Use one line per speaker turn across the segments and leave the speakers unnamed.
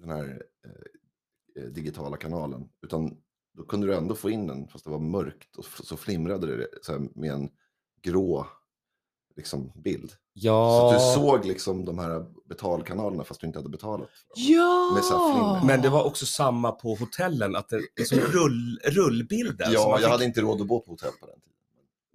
den här eh, eh, digitala kanalen. Utan då kunde du ändå få in den, fast det var mörkt. Och f- så flimrade det så här, med en grå liksom, bild. Så
Ja.
att du såg liksom de här betalkanalerna fast du inte hade betalat.
Ja!
Med så här flimmer.
Men det var också samma på hotellen, att det är som rull, rullbilder. så
ja,
man
jag
fick-
hade inte råd att bo på hotell på den tiden.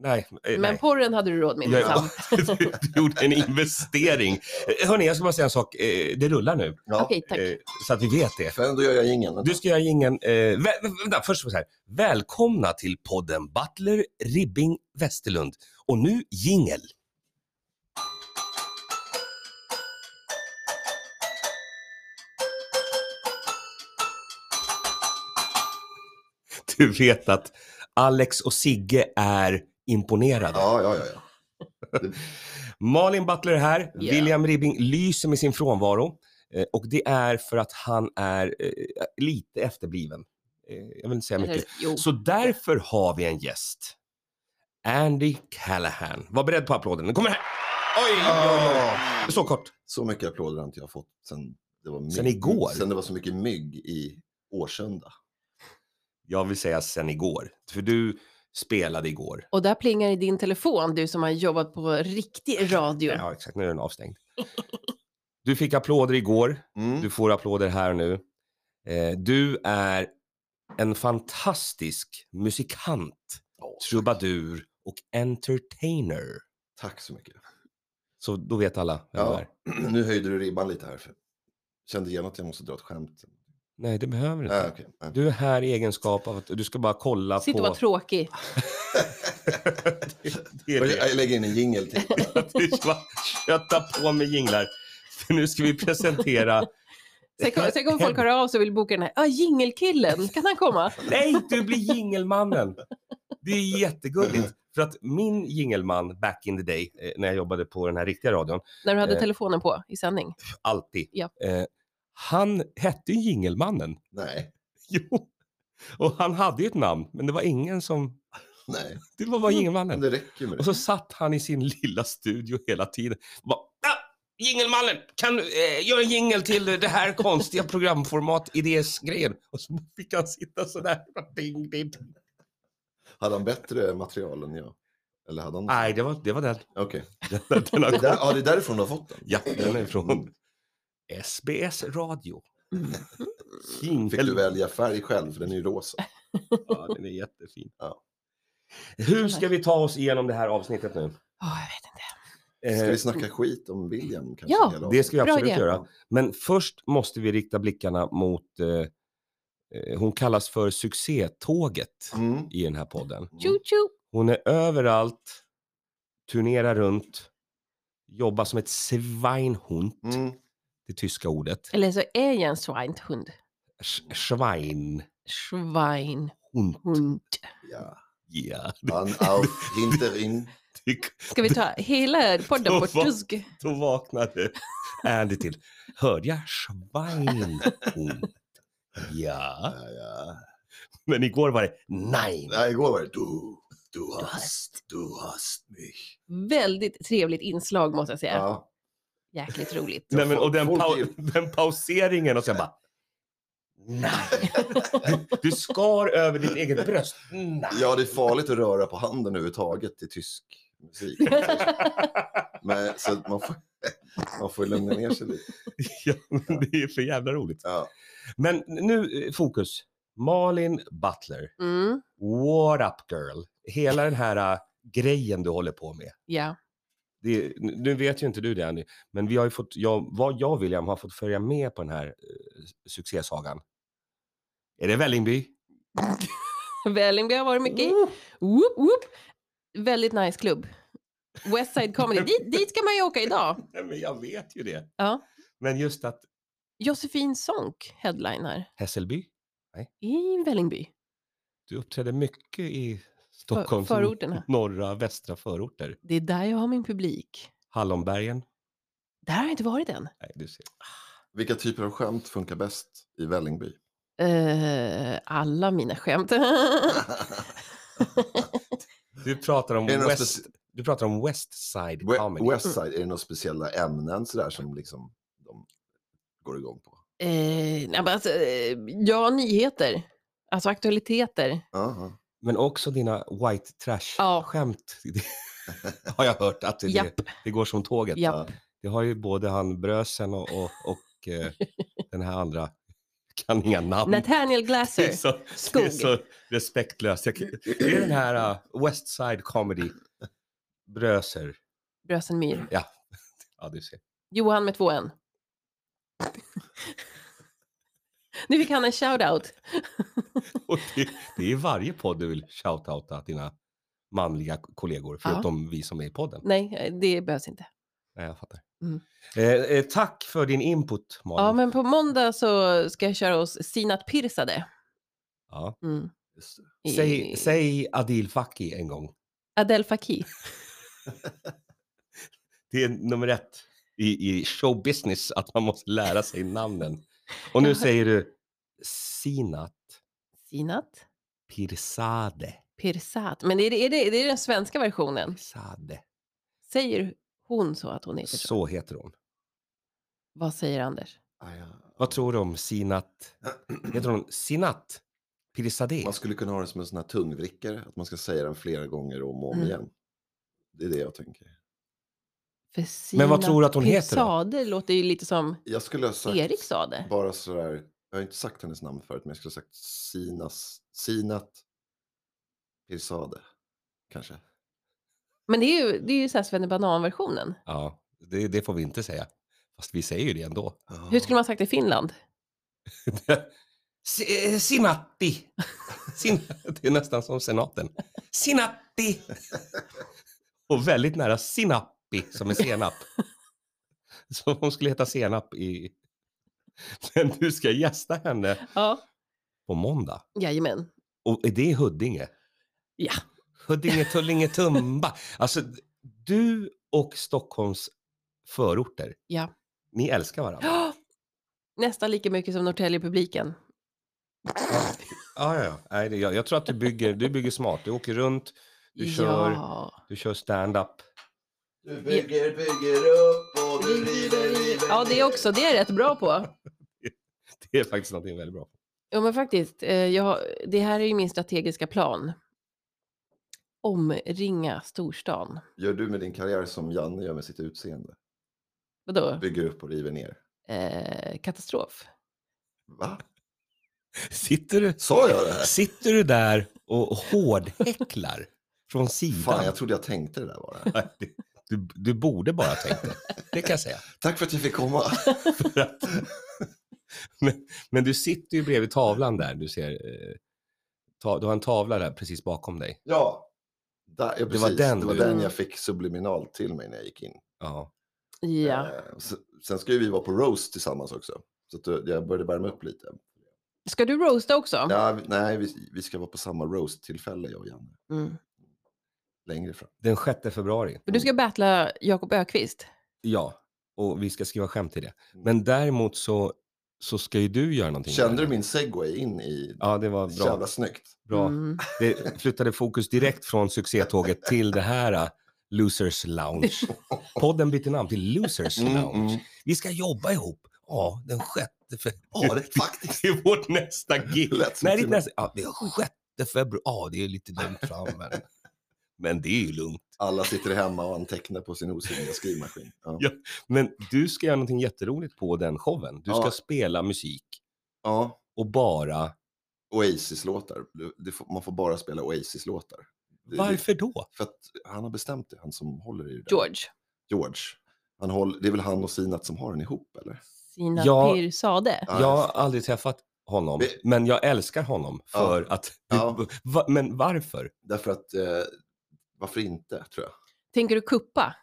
Nej, eh, nej.
Men porren hade du råd med liksom.
Ja,
minsann.
du, du gjorde en investering. Eh, Hörni, jag ska bara säga en sak. Eh, Det rullar nu,
Ja.
Okej, tack.
eh, så att vi vet det.
Fan, då gör jag ingen.
Du ska göra ingen... Eh, vä- vä- vänta, först så här. Välkomna till podden Butler Ribbing Westerlund. Och nu jingel. Du vet att Alex och Sigge är imponerade.
Ja, ja, ja. ja.
Malin Butler här.
Ja.
William Ribbing lyser med sin frånvaro. Eh, och det är för att han är eh, lite efterbliven. Eh, jag vill inte säga mycket.
Eller, jo.
Så därför har vi en gäst. Andy Callahan. Var beredd på applåden. Den kommer här. Oj, oj,
Ah.
oj. Så kort.
Så mycket applåder har inte jag fått sen det var mygg,
Sen igår?
Sen det var så mycket mygg i Årsunda.
Jag vill säga sen igår. För du spelade igår.
Och där plingar i din telefon, du som har jobbat på riktig radio.
Ja, exakt. Nu är den avstängd. Du fick applåder igår.
Mm.
Du får applåder här nu. Eh, du är en fantastisk musikant,
Ja,
trubadur och entertainer.
Tack så mycket.
Så då vet alla vem du
Ja,
är.
nu höjde du ribban lite här. För... Kände igen att jag måste dra ett skämt.
Nej, det behöver du inte.
Nej, okej. Nej.
Du är här i egenskap av att du ska bara kolla
Sitt
på...
och var tråkig.
det är
Och
det.
Jag jag lägger in en jingel till.
Du ska bara kötta på med jinglar. För nu ska vi presentera...
Sen kommer sen kommer folk höra av sig och vill boka den här. Ja, jingelkillen, kan han komma?
Nej, du blir jingelmannen. Det är jättegulligt. För att min jingelman back in the day, eh, när jag jobbade på den här riktiga radion,
När du hade
Eh.
telefonen på i sändning.
alltid,
Ja.
eh, han hette ju jingelmannen.
Nej,
Jo. Och han hade ju ett namn, men det var ingen som...
nej.
Det var bara
Men
jingelmannen.
det räcker med
Och
det.
så satt han i sin lilla studio hela tiden. Och Bara, ah, jingelmannen, kan du eh, göra en jingel till det här konstiga programformat, idésgrejen? Och så fick han sitta sådär. bara Ding, ding.
Hade han bättre material än jag? Eller hade han?
Nej, det var, det var den.
Okej.
Den, den, den
Det
har
där- Ja, det är därifrån du har fått den.
Ja, den är
Mm.
från SBS radio.
Fick du välja färg själv, för den är ju rosa.
Ja, den är jättefin.
Ja.
Hur ska vi ta oss igenom det här avsnittet nu?
Åh, jag vet inte.
Ska
Eh,
vi snacka skit om William? Kanske,
Ja,
hela
det ska vi
Bra
absolut
idé.
göra. Men först måste vi rikta blickarna mot, eh, eh, hon kallas för succétåget
avsnittet. Mm.
i den här podden.
Tjo tjo!
Hon är överallt, turnerar runt, jobbar som ett Schweinhund,
Mm.
det tyska ordet.
Eller så är jag en swinehund.
Sch- Schweinhund.
Schweinhund.
Ja.
Ja,
An auf Hinterin.
det-
Ska vi ta hela podden på
Så vad-
tysk?
Då vaknade Andy till. Hörde jag schweinhund? Ja,
Ja, ja.
men igår var det nej.
Nej, igår var det du. Du hast, du hast mich.
Väldigt trevligt inslag måste jag säga.
Ja.
Jäkligt roligt.
nej men, och den,
folk
pau-
är-
den pauseringen och sen bara nej. Du, du skar över ditt eget bröst. Nej.
ja, det är farligt att röra på handen överhuvudtaget till tysk musik. Men, så att man får, man får lugna ner sig lite.
Ja, men det är för jävla roligt.
Ja.
Men nu eh, fokus. Malin Butler,
Mm,
what up girl? Hela den här eh, grejen du håller på med.
ja.
det, nu vet ju inte du det Andy, men vi har ju fått, jag, vad jag och William har fått följa med på den här eh, succésagan. Är det Vällingby?
Vällingby har varit mycket i. Whoop, whoop. Väldigt nice klubb. Westside Comedy. dit, dit ska man ju åka idag.
Nej, men jag vet ju det.
Ja.
Men just att
Josefin Sonck headliner
Hässelby,
i Vällingby.
du uppträder mycket i Stockholms
förorterna.
norra, västra förorter.
Det är där jag har min publik.
Hallonbergen.
Där har jag inte varit än.
Nej, du ser.
Vilka typer av skämt funkar bäst i Vällingby?
Eh, alla mina skämt. Eh,
Du pratar om
Är det någon
West,
speci-
du pratar om West Side
We-
Comedy.
Westside, är det några speciella ämnen sådär som liksom de går igång på?
Eh, nej, men alltså, eh, ja, nyheter. Alltså aktualiteter.
Aha.
Men också dina white
Ja.
trash-skämt. har jag hört att det,
Japp.
det går som tåget.
Ja.
Det har ju både han Brösen och, och, och eh, den här andra. Kan inga namn.
Nathaniel
det,
Glasser.
är så, det är
Skog.
så respektlöst. Jag, kan- det är den här uh, West Side Comedy. Bröser.
Brösenmyr.
Ja, du ser.
Johan med två N. nu fick han en shout-out.
Och det, det är i varje podd du vill shoutouta dina manliga kollegor.
Ja.
Förutom vi som är i podden.
Nej, eh, det behövs inte.
Nej, jag fattar.
Mm.
Eh, eh, tack för din input, Malin.
Ja, men på måndag så ska jag köra oss Sinat Pirsade.
Ja.
Mm.
Just det.
Säg,
I-
säg Adil Fakir en gång.
Adel Fakir.
Det är nummer ett i, i showbusiness, att man måste lära sig namnen. Och nu
Jag-
säger du Sinat
Sinat
Pirsade.
Pirsat. Men är det, är, det, det är den svenska versionen.
Pirsade.
Säger hon så att hon heter så?
Så heter hon.
Vad säger Anders?
Ah, ja.
Vad tror du om Sinat? Heter hon Sinat Pirsade?
Man skulle kunna ha det som en sån här tungvrickare, att man ska säga den flera gånger om och om
Mm.
igen. Det är det jag tänker.
För
Men vad
Sinat
tror du att hon heter då?
Pirsade låter ju lite som
Jag skulle ha sagt
Erik Sade.
bara sådär, jag har inte sagt hennes namn förut, men jag skulle ha sagt Sinas, Sinat Pirsade, kanske.
Men det är ju, det är ju så här svennebanan-versionen.
Ja, det, det får vi inte säga. Fast vi säger ju det ändå.
Ah.
Hur skulle man ha sagt det i Finland?
S- eh, Sinatti. Sin, det är nästan som senaten. Sinatti! Och väldigt nära sinappi, som är senap. Så hon skulle heta senap i... Men du ska gästa henne
Ja,
på måndag.
jajamän.
Och är det i Huddinge?
Ja.
Huddinge, Tullinge, Tumba. Alltså, du och Stockholms förorter.
Ja.
Ni älskar varandra.
Ja, Nästan lika mycket som Norrtälje-publiken.
Ja, ja, ja. Nej, det- Jag, jag tror att du bygger, du bygger smart. Du åker runt, du kör,
Ja.
du kör stand-up.
Du
bygger,
bygger upp och
ja, det också. Det är jag rätt bra på.
Det är faktiskt någonting väldigt bra.
Ja, men faktiskt. eh, Jag, har- det här är ju min strategiska plan. Omringa storstan.
Gör du med din karriär som Janne gör med sitt utseende?
Vadå?
Bygger upp och river ner.
Eh, katastrof.
Va?
Sitter du,
Sa jag det här?
sitter du där och hårdhäcklar från sidan?
Fan, jag trodde jag tänkte det där bara.
Nej, du- Du, du borde bara tänkt det. Det kan jag säga.
Tack för att jag fick komma.
För att, men, men du sitter ju bredvid tavlan där. Du, ser, eh, ta, du har en tavla där precis bakom dig.
Ja. Där, ja
var
precis. Det var, den,
den
det var
du-
den
Mm.
jag fick subliminalt till mig när jag gick in.
Ja.
Ja.
Eh, s- Sen ska ju vi vara på roast tillsammans också. Så att eh, jag började värma upp lite.
Ska du roasta också?
Ja, vi- nej, vi, vi ska vara på samma roast-tillfälle, jag och Janne,
Mm.
längre fram.
Den 6 februari.
Mm.
För du ska battla Jakob Ökvist.
Ja, och vi ska skriva skämt till det. Men däremot så, så ska ju du göra någonting.
Kände du min segway in i...
Ja, det var bra.
Jävla snyggt.
bra.
Mm.
Det flyttade fokus direkt från succétåget till det här eh, Losers Lounge. Podden bytte namn till Losers
Mm,
Lounge. Vi ska jobba ihop. Ja, den sjätte
Ja,
februari.
det faktiskt.
Det är vårt nästa gig.
Lät som
Nej, det är
till-
nästa. Ja, det är sjätte februari. Ja, det är lite långt fram. Men, men det är ju lugnt.
Alla sitter hemma och antecknar på sin osynliga skrivmaskin. Ja.
Ja. Men du ska göra någonting jätteroligt på den showen. Du ska
Ja.
spela musik
ja.
och bara...
Oasis-låtar. Du- det får- Man får bara spela Oasis-låtar. Det- det-
Varför då?
För att han har bestämt det, han som håller i det. där.
George.
George. Han håller, det är väl han och Sinat som har den ihop, eller?
Sina
Ja.
Pir Sade.
Ja,
Jag har aldrig träffat honom,
Vi-
men jag älskar honom för att...
Ja.
Va, men varför?
Därför att, eh, varför inte, tror jag.
Tänker du kuppa?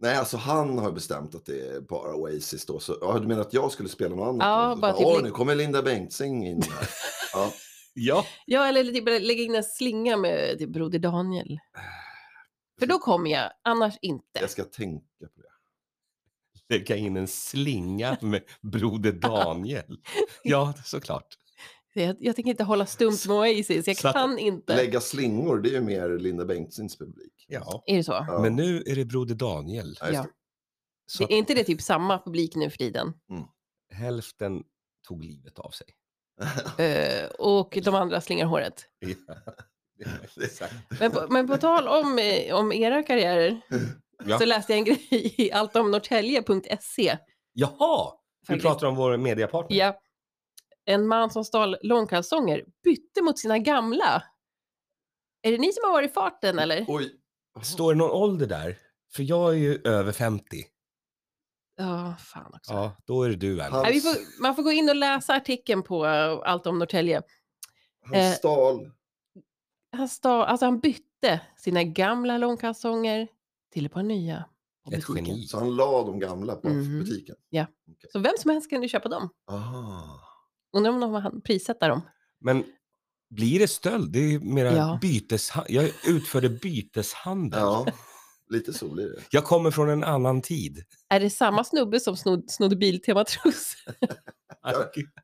Nej, alltså han har bestämt att det är bara Oasis då. Så, ja, du menar att jag skulle spela något annat?
Ja,
Och så
bara typ
Åh,
lik-
nu kommer Linda Bengtzing in här. ja,
Ja,
Ja, eller typ lägga in en slinga med typ Broder Daniel. För då kommer jag, annars inte.
jag ska tänka på det.
lägga in en slinga med Broder Daniel. Ja, såklart.
Jag, jag tänker inte hålla stumt med Oasis, jag
Så att-
kan inte.
Lägga slingor, det är ju mer Linda Bengtzings publik.
Ja.
Är det så?
Ja.
Men nu är det Broder Daniel.
Ja, just
Ja.
det.
Så
Det, är inte det typ samma publik nu för tiden?
hälften tog livet av sig.
Eh, och de andra slingar håret.
Exakt.
Men på, men på tal om, eh, om era karriärer
Ja.
så läste jag en grej i alltomnorrtälje.se.
Jaha! Vi
faktiskt.
pratar om vår mediapartner.
Ja. En man som stal långkalsonger bytte mot sina gamla. Är det ni som har varit i farten eller?
Oj.
Står det någon ålder där? För jag är ju över 50.
Ja, fan också.
Ja, då är det du Anna.
Han-
Nej, vi får, man får gå in och läsa artikeln på eh, Allt om Norrtälje. Eh.
Han stal.
Han, sta, alltså han bytte sina gamla långkalsonger till ett par nya. på
Ett
butiken.
geni.
Så han la de gamla på
Mhm.
butiken.
Så vem som helst kan ju köpa dem.
Ah.
Undrar om de hann prissätta dem.
Men blir det stöld? Det är ju mera
Ja.
byteshandel. Jag utförde byteshandel.
Ja, lite så blir det.
Jag kommer från en annan tid.
Är det samma snubbe som snod, snodde Biltema-trosor?
Han,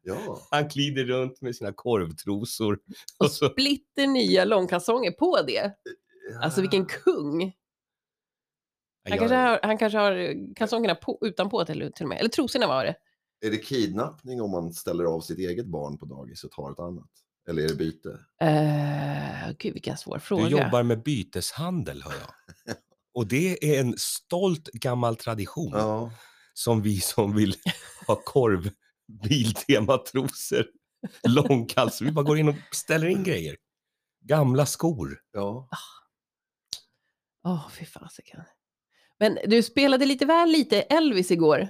Ja.
han glider runt med sina korvtrosor. Och
Alltså.
så,
splitter nya långkalsonger på det. Alltså
Ah.
vilken kung. Han, kanske, har, han kanske har eh, kalsongerna på, utanpå till, till och med. Eller trosorna var det.
Är det kidnappning om man ställer av sitt eget barn på dagis och tar ett annat? Eller är det byte?
Uh, gud vilken svår fråga.
Du jobbar med byteshandel, hör jag. Och det är en stolt gammal tradition
Ja.
som vi som vill ha korv, biltematrosor, långkalsor. Vi bara går in och beställer in grejer. Gamla skor.
ja.
Åh, fy fasiken. Men du spelade lite väl lite Elvis igår.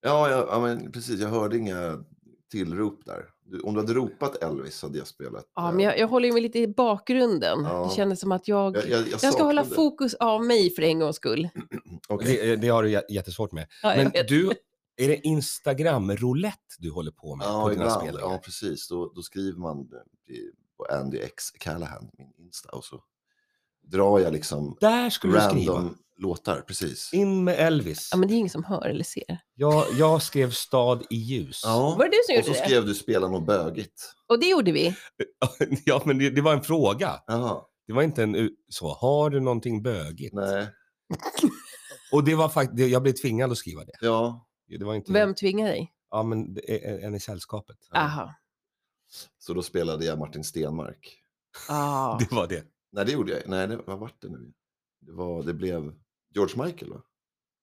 Ja, ja, ja men precis. Jag hörde inga tillrop där. Du, om du hade ropat Elvis hade jag spelat.
Ja,
eh,
men jag, jag håller ju mig lite i bakgrunden.
Ja.
Det kändes som att jag...
jag,
Jag,
jag, jag
ska hålla
saknade-
fokus av mig för en gångs skull.
Okej.
Det, det har du jä- jättesvårt med.
Ja, jag
Men
vet.
du, är det Instagram-roulette du håller på med på
Ja,
dina
ibland.
spelningar?
Ja, precis. Då, då skriver man eh, i- på Andy X Callahan, min Insta, och så drar jag liksom
Där skulle du skriva.
random låtar. Precis.
In med Elvis.
Ja, men det är ingen som hör eller ser.
Jag, jag skrev stad i ljus.
Ja.
Var det du som
Och
gjorde
så
det?
skrev du spela något bögigt.
Och det gjorde vi.
Ja, men det, det var en fråga.
Jaha,
Det var inte en u- så, har du någonting bögigt?
nej.
Och det var faktiskt, jag blev tvingad att skriva det.
Ja,
Det var inte...
Vem tvingade dig?
Ja, men det är en i sällskapet.
Aha.
så då spelade jag Martin Stenmark.
Ah.
Det var det.
Nej, det gjorde jag. Nej, det, vad vart det nu? Det, var, det blev George Michael, va?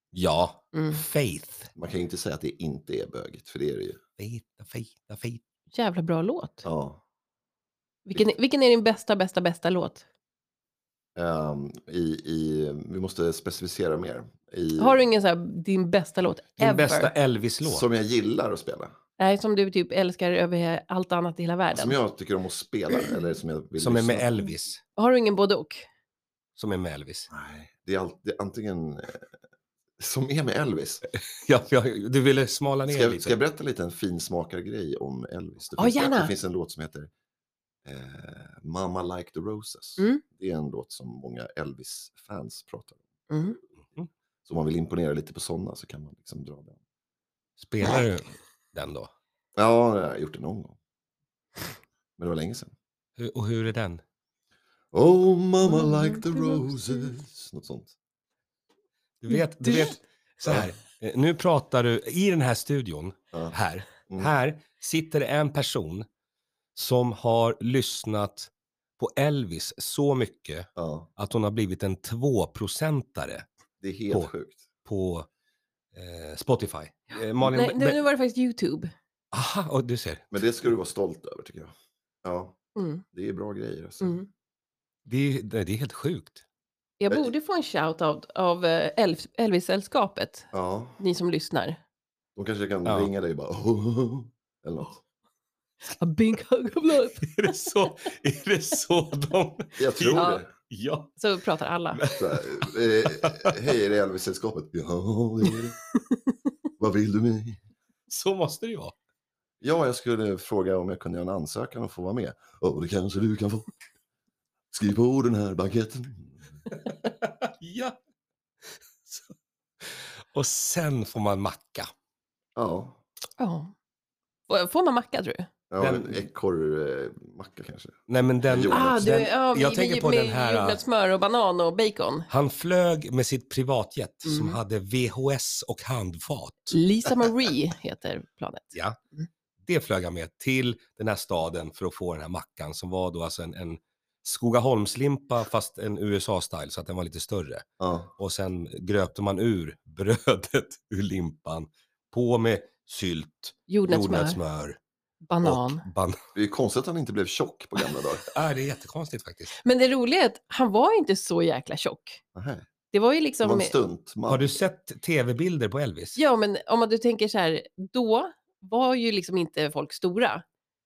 Ja.
Mm.
Faith.
Man kan ju inte säga att det inte är bögigt, för det är det ju.
Typ.
Faith, faith, faith.
Jävla bra låt.
Ja.
Vilken, vilken är din bästa, bästa, bästa låt?
Ehm, i, i, vi måste specificera mer. I,
Har du ingen så här, din bästa låt
Din
ever?
Mm. bästa Elvis-låt.
som jag gillar att spela.
Nej, som du typ älskar över allt annat i hela världen.
Som jag tycker om att spela. Eller som jag vill
Som är
lyssna
med
på.
Elvis.
Har du ingen både och?
Som är med Elvis.
Nej, det är alltid antingen... eh, Som är med Elvis.
Ja, jag, du ville smala ner
Ska jag,
lite.
ska jag berätta lite en finsmakargrej om Elvis? Det
Ja,
finns, en-
gärna.
det finns en låt som heter eh, Mamma Like the Roses.
Mm.
Det är en låt som många Elvis-fans pratar om.
Mm.
Så om man vill imponera lite på sådana så kan man liksom dra den.
Spelar du den då?
Ja, jag har gjort det någon gång. Men det var länge sedan.
Hur- Och hur är den?
Oh mamma like the roses. Något sånt.
Du vet, du
Du-
vet så här. eh, Nu pratar du, i den här studion,
Ja.
här,
Mm.
här sitter det en person som har lyssnat på Elvis så mycket
Ja,
att hon har blivit en tvåprocentare
det är helt
På.
sjukt.
på eh, Spotify. Eh, Malin,
Nej,
be-
nu-
be-
nu var det faktiskt YouTube.
aha, och du ser.
Men det ska du vara stolt över tycker jag. Ja,
Mm.
det är bra grejer. Alltså.
Mm.
Det är, det det är helt sjukt.
Jag
Eh.
borde få en shout-out av eh, Elf- Elvis-sällskapet,
Ja,
ni som lyssnar.
de kanske kan
Ja.
ringa dig och bara. "Oh", eller något.
A big hug of love.
Är det så, är det så de...
Jag tror
Ja.
det.
Ja.
Så pratar alla.
Så här, eh, Hej, är det Elvis-sällskapet? Ja, det är det. Vad vill du mig?
Så måste det ju vara.
Ja, jag skulle fråga om jag kunde göra en ansökan och få vara med. Och det kanske du kan få. Skriv på den här blanketten.
Ja. Så. Och sen får man macka.
Ja,
Ja. Och Får man macka tror du?
Ja,
Den-
en ekorrmacka kanske.
Nej men den...
Jo.
Ah, du,
den
ja,
jag tänker på
med,
den här,
Med smör och banan och bacon.
han flög med sitt privatjet som
Mm.
hade VHS och handfat.
Lisa Marie heter planet.
Ja. Det flög han med till den här staden för att få den här mackan som var då alltså en, en Skogaholmslimpa fast en USA-style så att den var lite större.
Ja.
och sen gröpte man ur brödet ur limpan. På med sylt,
Jordnötssmör,
jordnötssmör
banan.
och banan.
Det är ju konstigt att han inte blev tjock på gamla dagar.
Äh, det är jättekonstigt faktiskt.
Men det roliga är att han var inte så jäkla tjock.
Nähä.
Det var ju
Det
liksom...
var en stuntman.
Har du sett tv-bilder på Elvis?
Ja, men om man- du tänker så här, då var ju liksom inte folk stora.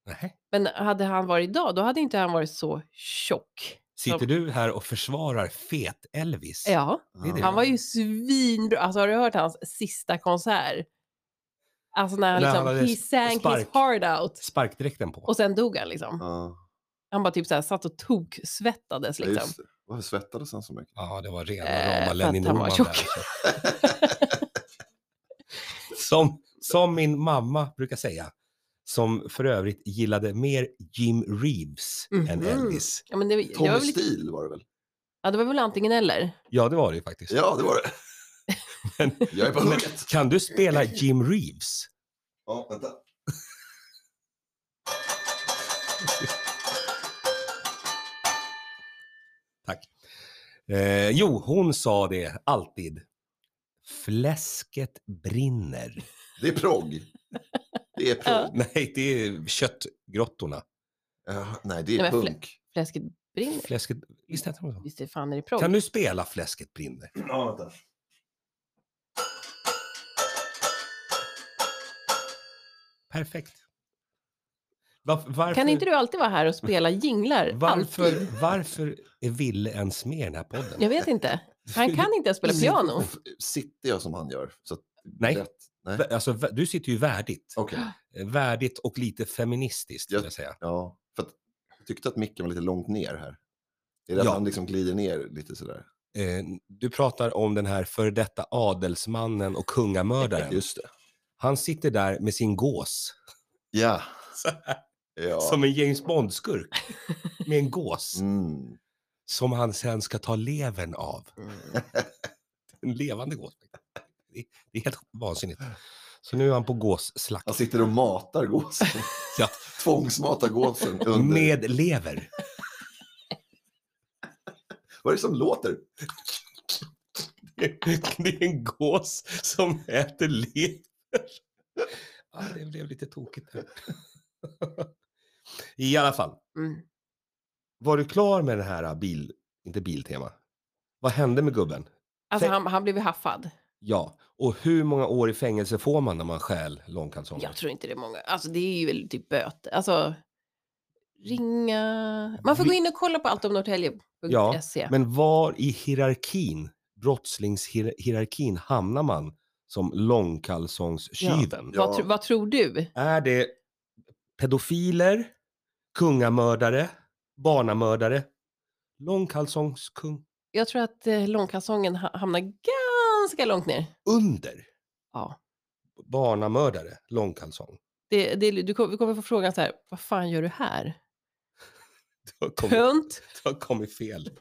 Nej.
Men hade han varit idag, då hade inte han varit så tjock.
Sitter du här och försvarar fet-Elvis?
Ja,
det är det.
han var ju svinbra. Alltså har du hört hans sista konsert? Alltså när han
När
liksom,
han hade
he sang his
spark.
heart out.
Sparkdräkten på.
Och sen dog han liksom.
Ja,
Han bara typ så här satt och toksvettades
ja,
liksom.
just det. Varför svettades han så mycket?
Ja, det var
Eh,
rena
för
rama
att
Lenin
han var
Norman
tjock.
där. Som, som min mamma brukar säga, som för övrigt gillade mer Jim Reeves än
Mhm.
Elvis.
Ja, men det, det,
Tommy
var väl,
Steele var det väl?
ja, det var väl antingen eller.
Ja, det var det ju faktiskt.
Ja, det var det. Jag är på
Men
hugget.
kan du spela Jim Reeves?
Ja, vänta.
Tack. Eh, jo, hon sa det alltid. Fläsket brinner.
Det är progg. Det är progg.
Nej, det är köttgrottorna.
Ja, nej, det är
Nej, men flä-
punk.
Fläsket brinner.
Fläsket... Visst heter hon så?
Visst är fan är det prov.
Kan du spela Fläsket brinner?
Ja, vänta.
Perfekt. Varf- varför...
Kan inte du alltid vara här och spela jinglar? Alltid?
Varför, varför är Ville ens med i den här podden?
Jag vet inte. Han kan inte ens spela piano.
Sitter jag som han gör? Så att,
Nej,
Rätt. Nej.
vä- alltså, vä- du sitter ju värdigt.
Okej.
Eh, Värdigt och lite feministiskt,
Ja.
vill jag säga.
Ja, för att jag tyckte att micken var lite långt ner här. Är det
Ja.
att han liksom glider ner lite sådär?
Eh, du pratar om den här före detta adelsmannen och kungamördaren.
Just det.
Han sitter där med sin gås.
Ja.
Så här,
ja.
Som en James Bond-skurk. Med en gås.
Mm.
Som han sen ska ta levern av. En levande gås. Det, det är helt vansinnigt. Så nu är han på gåsslakt.
Han sitter och matar gåsen.
Ja.
Tvångsmatar gåsen. Under...
Med lever.
Vad är det som låter?
Det är en gås som äter lever. Ja, det blev lite tokigt här. I alla fall.
Mm.
Var du klar med den här bil... Inte biltema. Vad hände med gubben?
Alltså
Fä-
han, han blev ju haffad.
Ja, och hur många år i fängelse får man när man stjäl långkalsonger?
Jag tror inte det är många. Alltså det är ju väl typ böter. Alltså ringa. Man får gå in och kolla på allt om Norrtälje.se.
Men var i hierarkin, brottslingshierarkin, hamnar man som långkalsongstjuven?
Vad,
Ja.
tro- vad tror du?
Är det pedofiler, kungamördare, barnamördare, långkalsongskung
Jag tror att eh, långkalsongen ha- hamnar ganska långt ner.
under?
Ja.
Barnamördare, långkalsong.
Det, det, du kommer, vi kommer få frågan så här, vad fan gör du här?
Det har kommit,
Tönt.
det har kommit fel.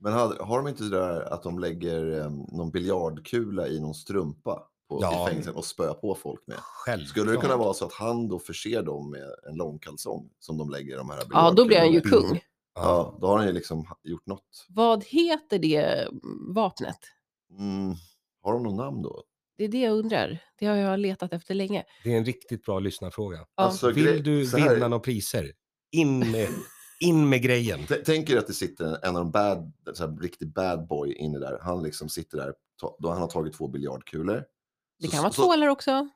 Men har, har de inte det där att de lägger eh, någon biljardkula i någon strumpa på,
Ja. Mm.
i fängelsen och spöar på folk med?
Självklart.
Skulle det kunna vara så att han då förser dem med en långkalsong som de lägger i de här
Ja, då blir han ju
biljardkulorna i?
kung.
Ja.
Ja, då har han ju liksom gjort något.
Vad heter det mm, vapnet?
Mm. Har de något namn då?
Det är det jag undrar. Det har jag letat efter länge.
Det är en riktigt bra lyssnarfråga.
Ja.
Alltså, gre-
Vill du
så här-
vinna några priser? In med, in med grejen.
T- Tänk er att det sitter en- en av de bad, så här, riktigt bad boy inne där. Han liksom sitter där, ta- då han har tagit två biljardkulor.
Det
Så-
kan vara
så-
tvålar också.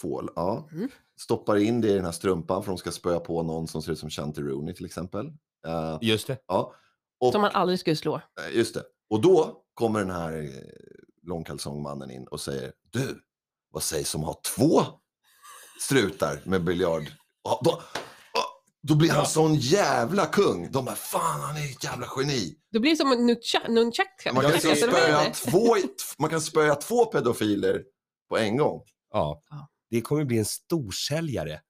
Tvål, ja.
Mm.
Stoppar in det i den här strumpan för de ska spöa på någon som ser ut som Shanti Rooney till exempel. Eh,
Just det.
ja. Och,
Som man aldrig skulle slå.
eh, Just det. Och då kommer den här eh, långkalsongmannen in och säger Du, vad sägs om att ha två strutar med biljard? Ja, då, ja, då blir han
Ja.
sån jävla kung. De bara, fan han är ju ett jävla geni.
Det blir som en nuncha- nunchak.
Man kan,
Jag
liksom
ser-
spöa två, man kan spöa två pedofiler på en gång.
Ja.
Ja.
Det kommer bli en storsäljare.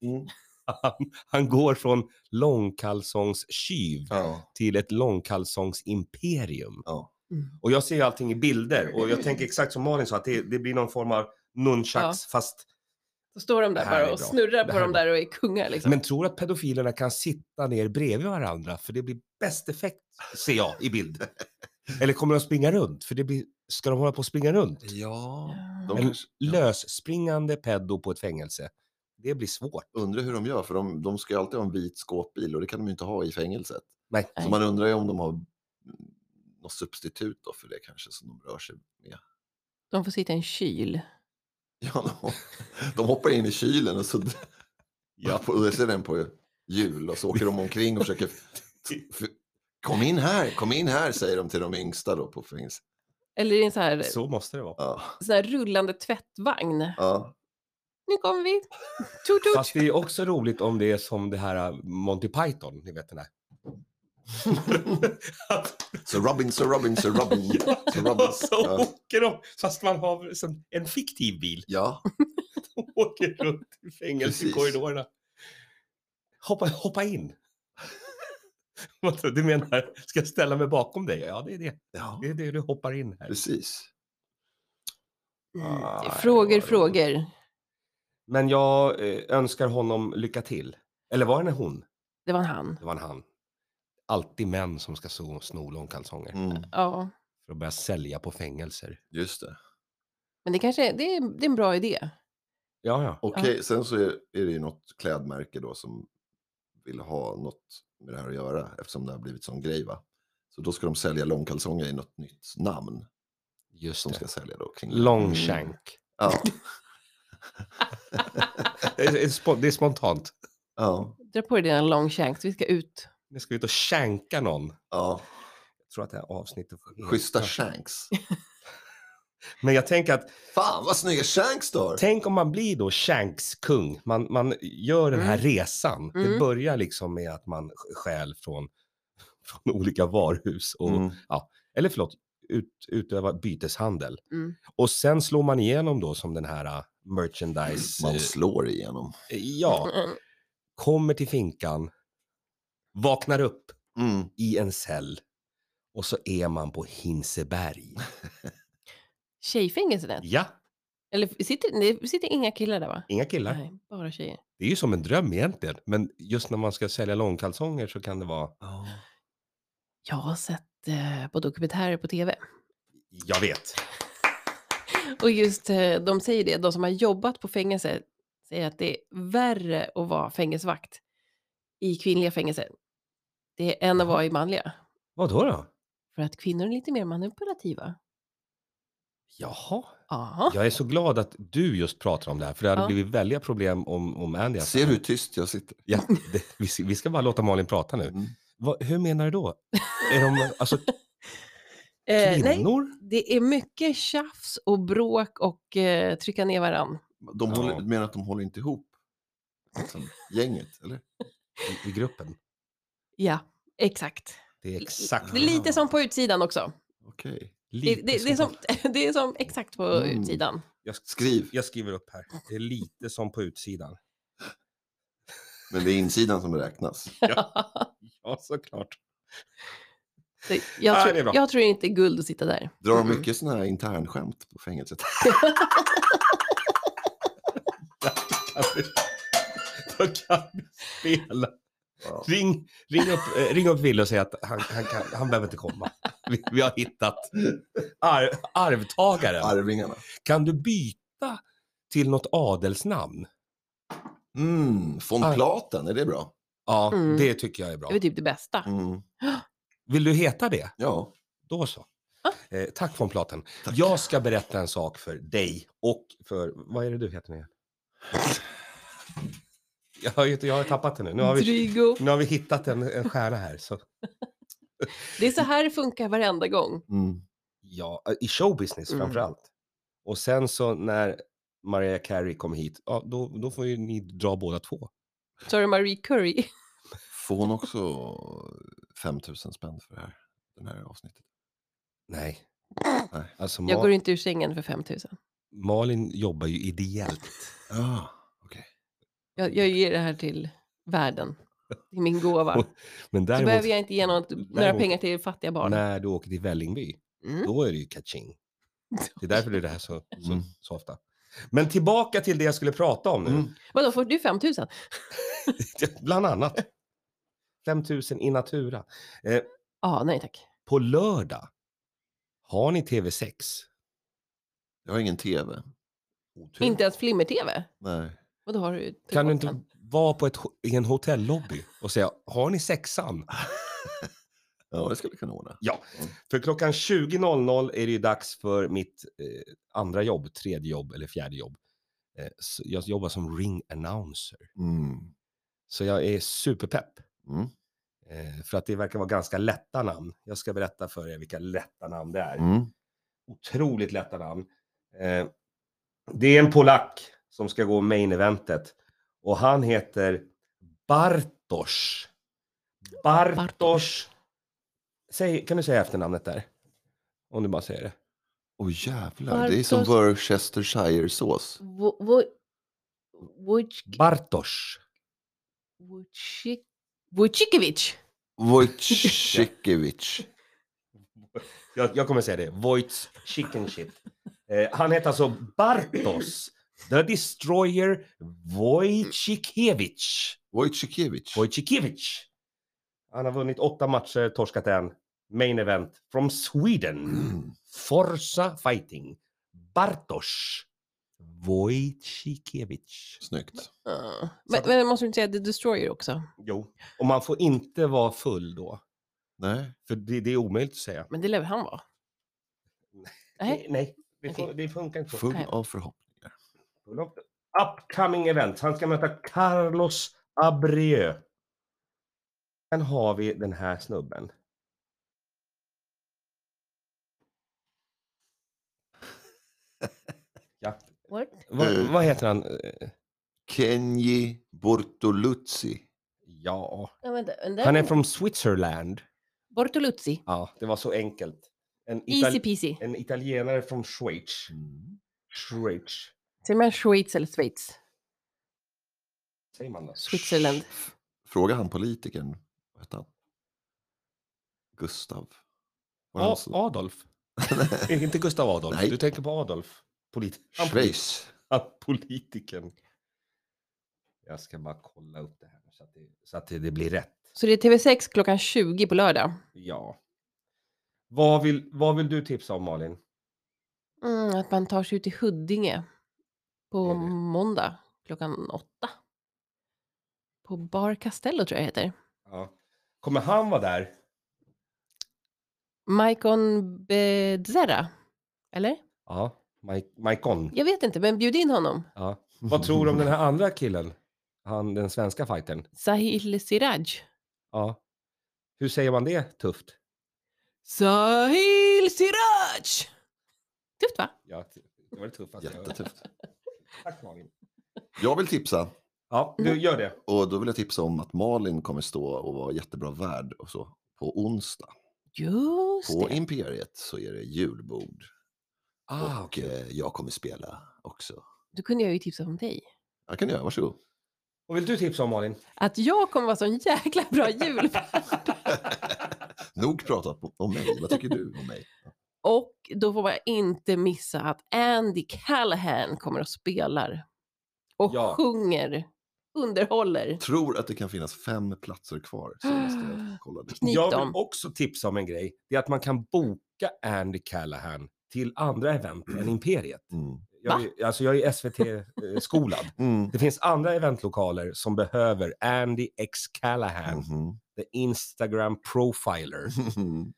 Han, han går från långkalsongskyv
Ja.
till ett långkalsongsimperium.
ja.
Mm.
Och jag ser ju allting i bilder och jag
Mm.
tänker exakt som Malin sa att det, det blir någon form av nunchucks fast...
Så står de
Det
där
här är
bara och
bra.
snurrar
Det
på
här är
dem där och är kungar liksom.
Men tror att pedofilerna kan sitta ner bredvid varandra för det blir bäst effekt ser jag i bild. Eller kommer de springa runt? För det blir... Ska de hålla på att springa runt?
ja.
Ja.
De
En
kanske- ja.
lösspringande pedo på ett fängelse. Det blir svårt.
Undrar hur de gör, för de, de ska ju alltid ha en vit skåpbil och det kan de ju inte ha i fängelset.
Nej.
Så man undrar ju om de har något substitut då för det kanske som de rör sig med.
De får sitta i en kyl.
Ja, de, de hoppar in i kylen och så ja. och då ser den på hjul och så åker de omkring och försöker... f- Kom in här, kom in här, säger de till de yngsta då på fängelset.
Eller i en sån här,
Så måste det vara.
Ja,
sån här rullande tvättvagn.
ja.
Nu kommer vi! Tut, tut.
Fast det är också roligt om det är som det här äh, Monty Python, ni vet den här.
Så Robin, så Robin, så Robin. Så Robin.
Och så
Ja.
åker de, fast man har som en fiktiv bil,
ja,
och åker runt i fängelse i
Precis.
korridorerna. Hoppa, hoppa in! Vad tror Du Du menar, ska jag ställa mig bakom dig? Ja, det är det.
ja,
Det är det du hoppar in här.
precis.
Mm.
Ah,
frågor,
det var-
frågor.
Men jag eh, önskar honom lycka till. Eller var det en hon?
Det var en han.
Det var en han. Alltid män som ska so- sno långkalsonger
Mm,
Ja.
för att börja sälja på fängelser.
just det.
Men det kanske är, det är, det är en bra idé.
Ja, ja.
Okej, sen så är, är det ju något klädmärke då som vill ha något med det här att göra eftersom det har blivit sån grej va. Så då ska de sälja långkalsonger i något nytt namn
Just
som
det.
ska sälja då kring... Mm.
Longshank.
Ja,
Det är, spo- det är spontant.
ja,
Dra på dig dina long shanks, vi ska ut.
Nu ska vi ut och shanka någon.
ja.
Jag tror att det här avsnittet får heta-
Schyssta shanks.
Men jag tänker att,
Fan vad snygga shanks du har!
tänk om man blir då shankskung. Man, man gör den här
Mm.
resan. Det
Mm.
börjar liksom med att man stjäl från, från olika varuhus. Och,
Mm.
Eller förlåt, ut, utöva byteshandel.
Mm.
Och sen slår man igenom då som den här äh, merchandise...
Man
eh,
slår igenom.
Ja,
Mm.
kommer till finkan, vaknar upp
Mm.
i en cell och så är man på Hinseberg.
Tjejfängelset?
Ja,
Eller sitter, det sitter inga killar där va?
inga killar.
Nej, bara tjejer.
Det är ju som en dröm egentligen, men just när man ska sälja långkalsonger så kan det vara,
Jag har sett eh, på dokumentärer på tv.
jag vet.
Och just eh, de säger det, de som har jobbat på fängelse säger att det är värre att vara fängelsevakt i kvinnliga fängelser. Det är än att vara i manliga.
Vad då då?
För att kvinnor är lite mer manipulativa.
Jaha,
Ja.
jag är så glad att du just pratar om det här, för det hade
Ja.
blivit väldiga problem om, om Andy. hade-
Ser du hur tyst jag sitter?
Ja, det, vi, ska- vi ska bara låta Malin prata nu.
Mm.
Vad- hur menar du då? Är de alltså
Eh, nej,
kvinnor?
det är mycket tjafs och bråk och eh, trycka ner varann.
De
Ja.
håller, menar att de håller inte ihop? Liksom, gänget, eller?
I, I gruppen?
Ja, exakt.
Det är exakt.
Det är lite som på utsidan också.
Okej.
Det,
lite
det, det, är, som, det är som exakt på
Mm.
utsidan.
Jag,
Skriv.
jag skriver upp här. Det är lite som på utsidan.
Men det är insidan som räknas.
Ja, såklart.
Så Jag,
Ah,
tror,
det är bra.
jag tror inte det är guld att sitta där.
Drar de
Mm.
mycket sådana här internskämt på fängelset?
Då kan vi spela.
Ja.
Ring, ring, upp, eh, ring upp Wille och säg att han, han, kan, han behöver inte komma. Vi, vi har hittat arv, arvtagaren.
Arvingarna.
Kan du byta till något adelsnamn?
Mm, von
Arv.
Platen, är det bra?
Ja,
Mm.
det tycker jag är bra.
Det är typ det bästa.
Mm,
Vill du heta det?
ja,
Då så.
Ja.
Eh, tack von Platen.
Tack.
Jag ska berätta en sak för dig och för, vad är det du heter nu igen? Jag har, ju- jag har tappat det nu. Nu har vi,
Drygo.
nu har vi hittat en, en stjärna här. Så.
Det är så här det funkar varenda gång.
mm,
Ja, i showbusiness
Mm.
framför allt. Och sen så när Mariah Carey kom hit, ja, då, då får ju ni dra båda två.
Så har du Marie Curry.
Får hon också 5000 spänn för det här, den här avsnittet?
Nej.
Nej.
Alltså Ma-
Jag går inte ur sängen för 5 000.
Malin jobbar ju ideellt.
Ja,
Jag, jag ger det här till världen. Det är min gåva.
Och Men
Så behöver
däremot,
jag inte ge något, några
däremot-
pengar till fattiga barn.
när du åker till Vällingby,
Mm.
då är det ju catching. Det är därför det är det här så, så,
Mm.
så ofta. Men tillbaka till det jag skulle prata om nu.
Mm.
Vadå, får du 5 000?
Bland annat. 5000 i natura.
Ja, nej tack.
På lördag, har ni TV6?
Jag har ingen tv. Otur.
Inte ens flimmer-tv?
Nej.
Vadå har du? typ
Kan du inte
telefonen?
vara på ett, ho- i en hotellobby och säga, har ni sexan?
Ah.
Ja, det skulle jag kunna ordna.
För klockan 20.00 är det ju dags för mitt eh, andra jobb, tredje jobb eller fjärde jobb. Eh, så jag jobbar som ring announcer.
Mm.
Så jag är superpepp.
Mm.
Eh, för att det verkar vara ganska lätta namn. Jag ska berätta för er vilka lätta namn det är.
Mm.
Otroligt lätta namn. Eh, det är en polack som ska gå main eventet. Och han heter Bartosz. Bartosz.
Bartosz.
Säg, kan du säga efternamnet där? Om du bara säger det.
Åh jävlar, det är som
Bartos-
Worcestershire-sås.
Wo- wo- Wojcik-
Bartosz.
Wojcik- Wojcikiewicz.
Wojcickiewicz.
Jag, jag kommer säga det. Voits chicken shit. Eh, han heter alltså Bartos. The Destroyer Wojcikiewicz.
Wojcickiewicz.
Wojcikiewicz. Han har vunnit åtta matcher, torskat en. Main event from Sweden.
Mm.
Forza Fighting. Bartosz Wojcikiewicz.
Snyggt.
Ah. Men, men måste du inte säga The Destroyer också?
Jo, och man får inte vara full då.
Nej.
För det, det är omöjligt att säga.
Men det lär väl han vara? Nej.
Nej, det, fun- det funkar inte. så.
Full
Nej.
av förhoppningar.
Full of Upcoming event. Han ska möta Carlos Abreu. Sen har vi den här snubben. Ja.
What?
Vad,
Eh.
vad heter han? Eh,
Kenji Bortoluzzi.
Ja.
Ja, vänta, vänta.
Han är från Switzerland.
Bortoluzzi.
Ja, det var så enkelt. En,
Easy
itali-
peasy.
en italienare från Schweiz.
Mm.
Schweiz.
Säger man Schweiz eller Schweiz?
Säger man då?
Switzerland.
Fråga han politikern. Vad hette han? Gustav. Var det han
A-
som-
Adolf. Inte Gustav Adolf.
Nej.
Du tänker på Adolf. Polit- han polit-
Schweiz.
att politikern. Jag ska bara kolla upp det här så att det, så att det, det blir rätt.
Så det är TV6 klockan 20 på lördag.
Ja. Vad vill, vad vill du tipsa om Malin?
Mm, att man tar sig ut i Huddinge på
Är det?
måndag klockan åtta. På Bar Castello tror jag det heter.
Ja. Kommer han vara där?
Maikon Bedzerra. Eller?
Ja. Mike- Maikon.
Jag vet inte, men bjud in honom.
Ja. Vad tror du om den här andra killen? Han, den svenska fightern.
Sahil Siraj.
Ja. Hur säger man det tufft?
Sahil Siraj! Tufft va?
Ja, t- det var det tuffaste. jag hört.
Jättetufft.
Tack Malin.
Jag vill tipsa.
Ja, du gör det.
Och då vill jag tipsa om att Malin kommer stå och vara jättebra värd och så på onsdag.
Just
På
det.
Imperiet så är det julbord.
Ah,
och
Ah, okej.
eh, jag kommer spela också.
Då kunde jag ju tipsa om dig.
Jag kan göra, varsågod.
Vad vill du tipsa om Malin?
Att jag kommer vara sån jäkla bra jul.
Nog pratat om- om mig. Vad tycker du om mig?
Och då får man inte missa att Andy Callahan kommer och spelar och
Ja.
sjunger, underhåller.
Tror att det kan finnas fem platser kvar. Så måste jag kolla det.
Knyp
Jag
dem.
vill också tipsa om en grej. Det är att man kan boka Andy Callahan till andra event än Imperiet.
Mm.
Jag är, alltså jag är SVT-skolad.
Mm.
Det finns andra eventlokaler som behöver Andy X Callahan,
Mhm.
the Instagram profiler.
Mhm.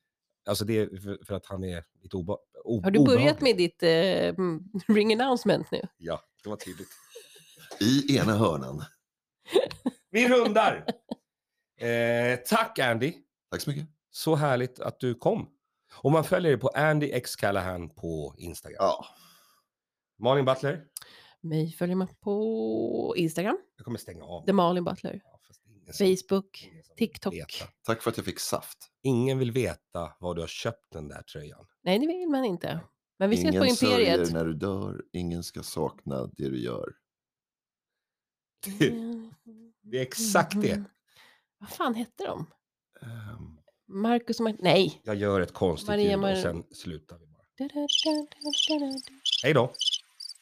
Alltså det är för, för att han är lite oba, o,
Har du börjat
obehaglig.
med ditt eh, mm, ring announcement nu?
Ja, det var tydligt.
I ena hörnan.
Vi rundar! Eh, tack Andy!
Tack så mycket.
Så härligt att du kom. Och man följer dig på Andy X Callahan på Instagram.
Ja.
Malin Butler,
Mig följer man på Instagram,
jag kommer stänga av.
The Malin Butler,
Ja, fast det är ingen som-
Facebook,
ingen som vill
TikTok.
veta.
Tack för att jag fick saft.
Ingen vill veta var du har köpt den där tröjan.
Nej, det vill man inte. Men vi ses på
Ingen
Imperiet.
sörjer när du dör. Ingen ska sakna det du gör.
Det är exakt det.
Mm. Vad fan hette de?
Ehm,
Marcus och Martin? Nej.
Jag gör ett konstigt
Maria
ljud
Mar-
och sen slutar vi bara. Hej då!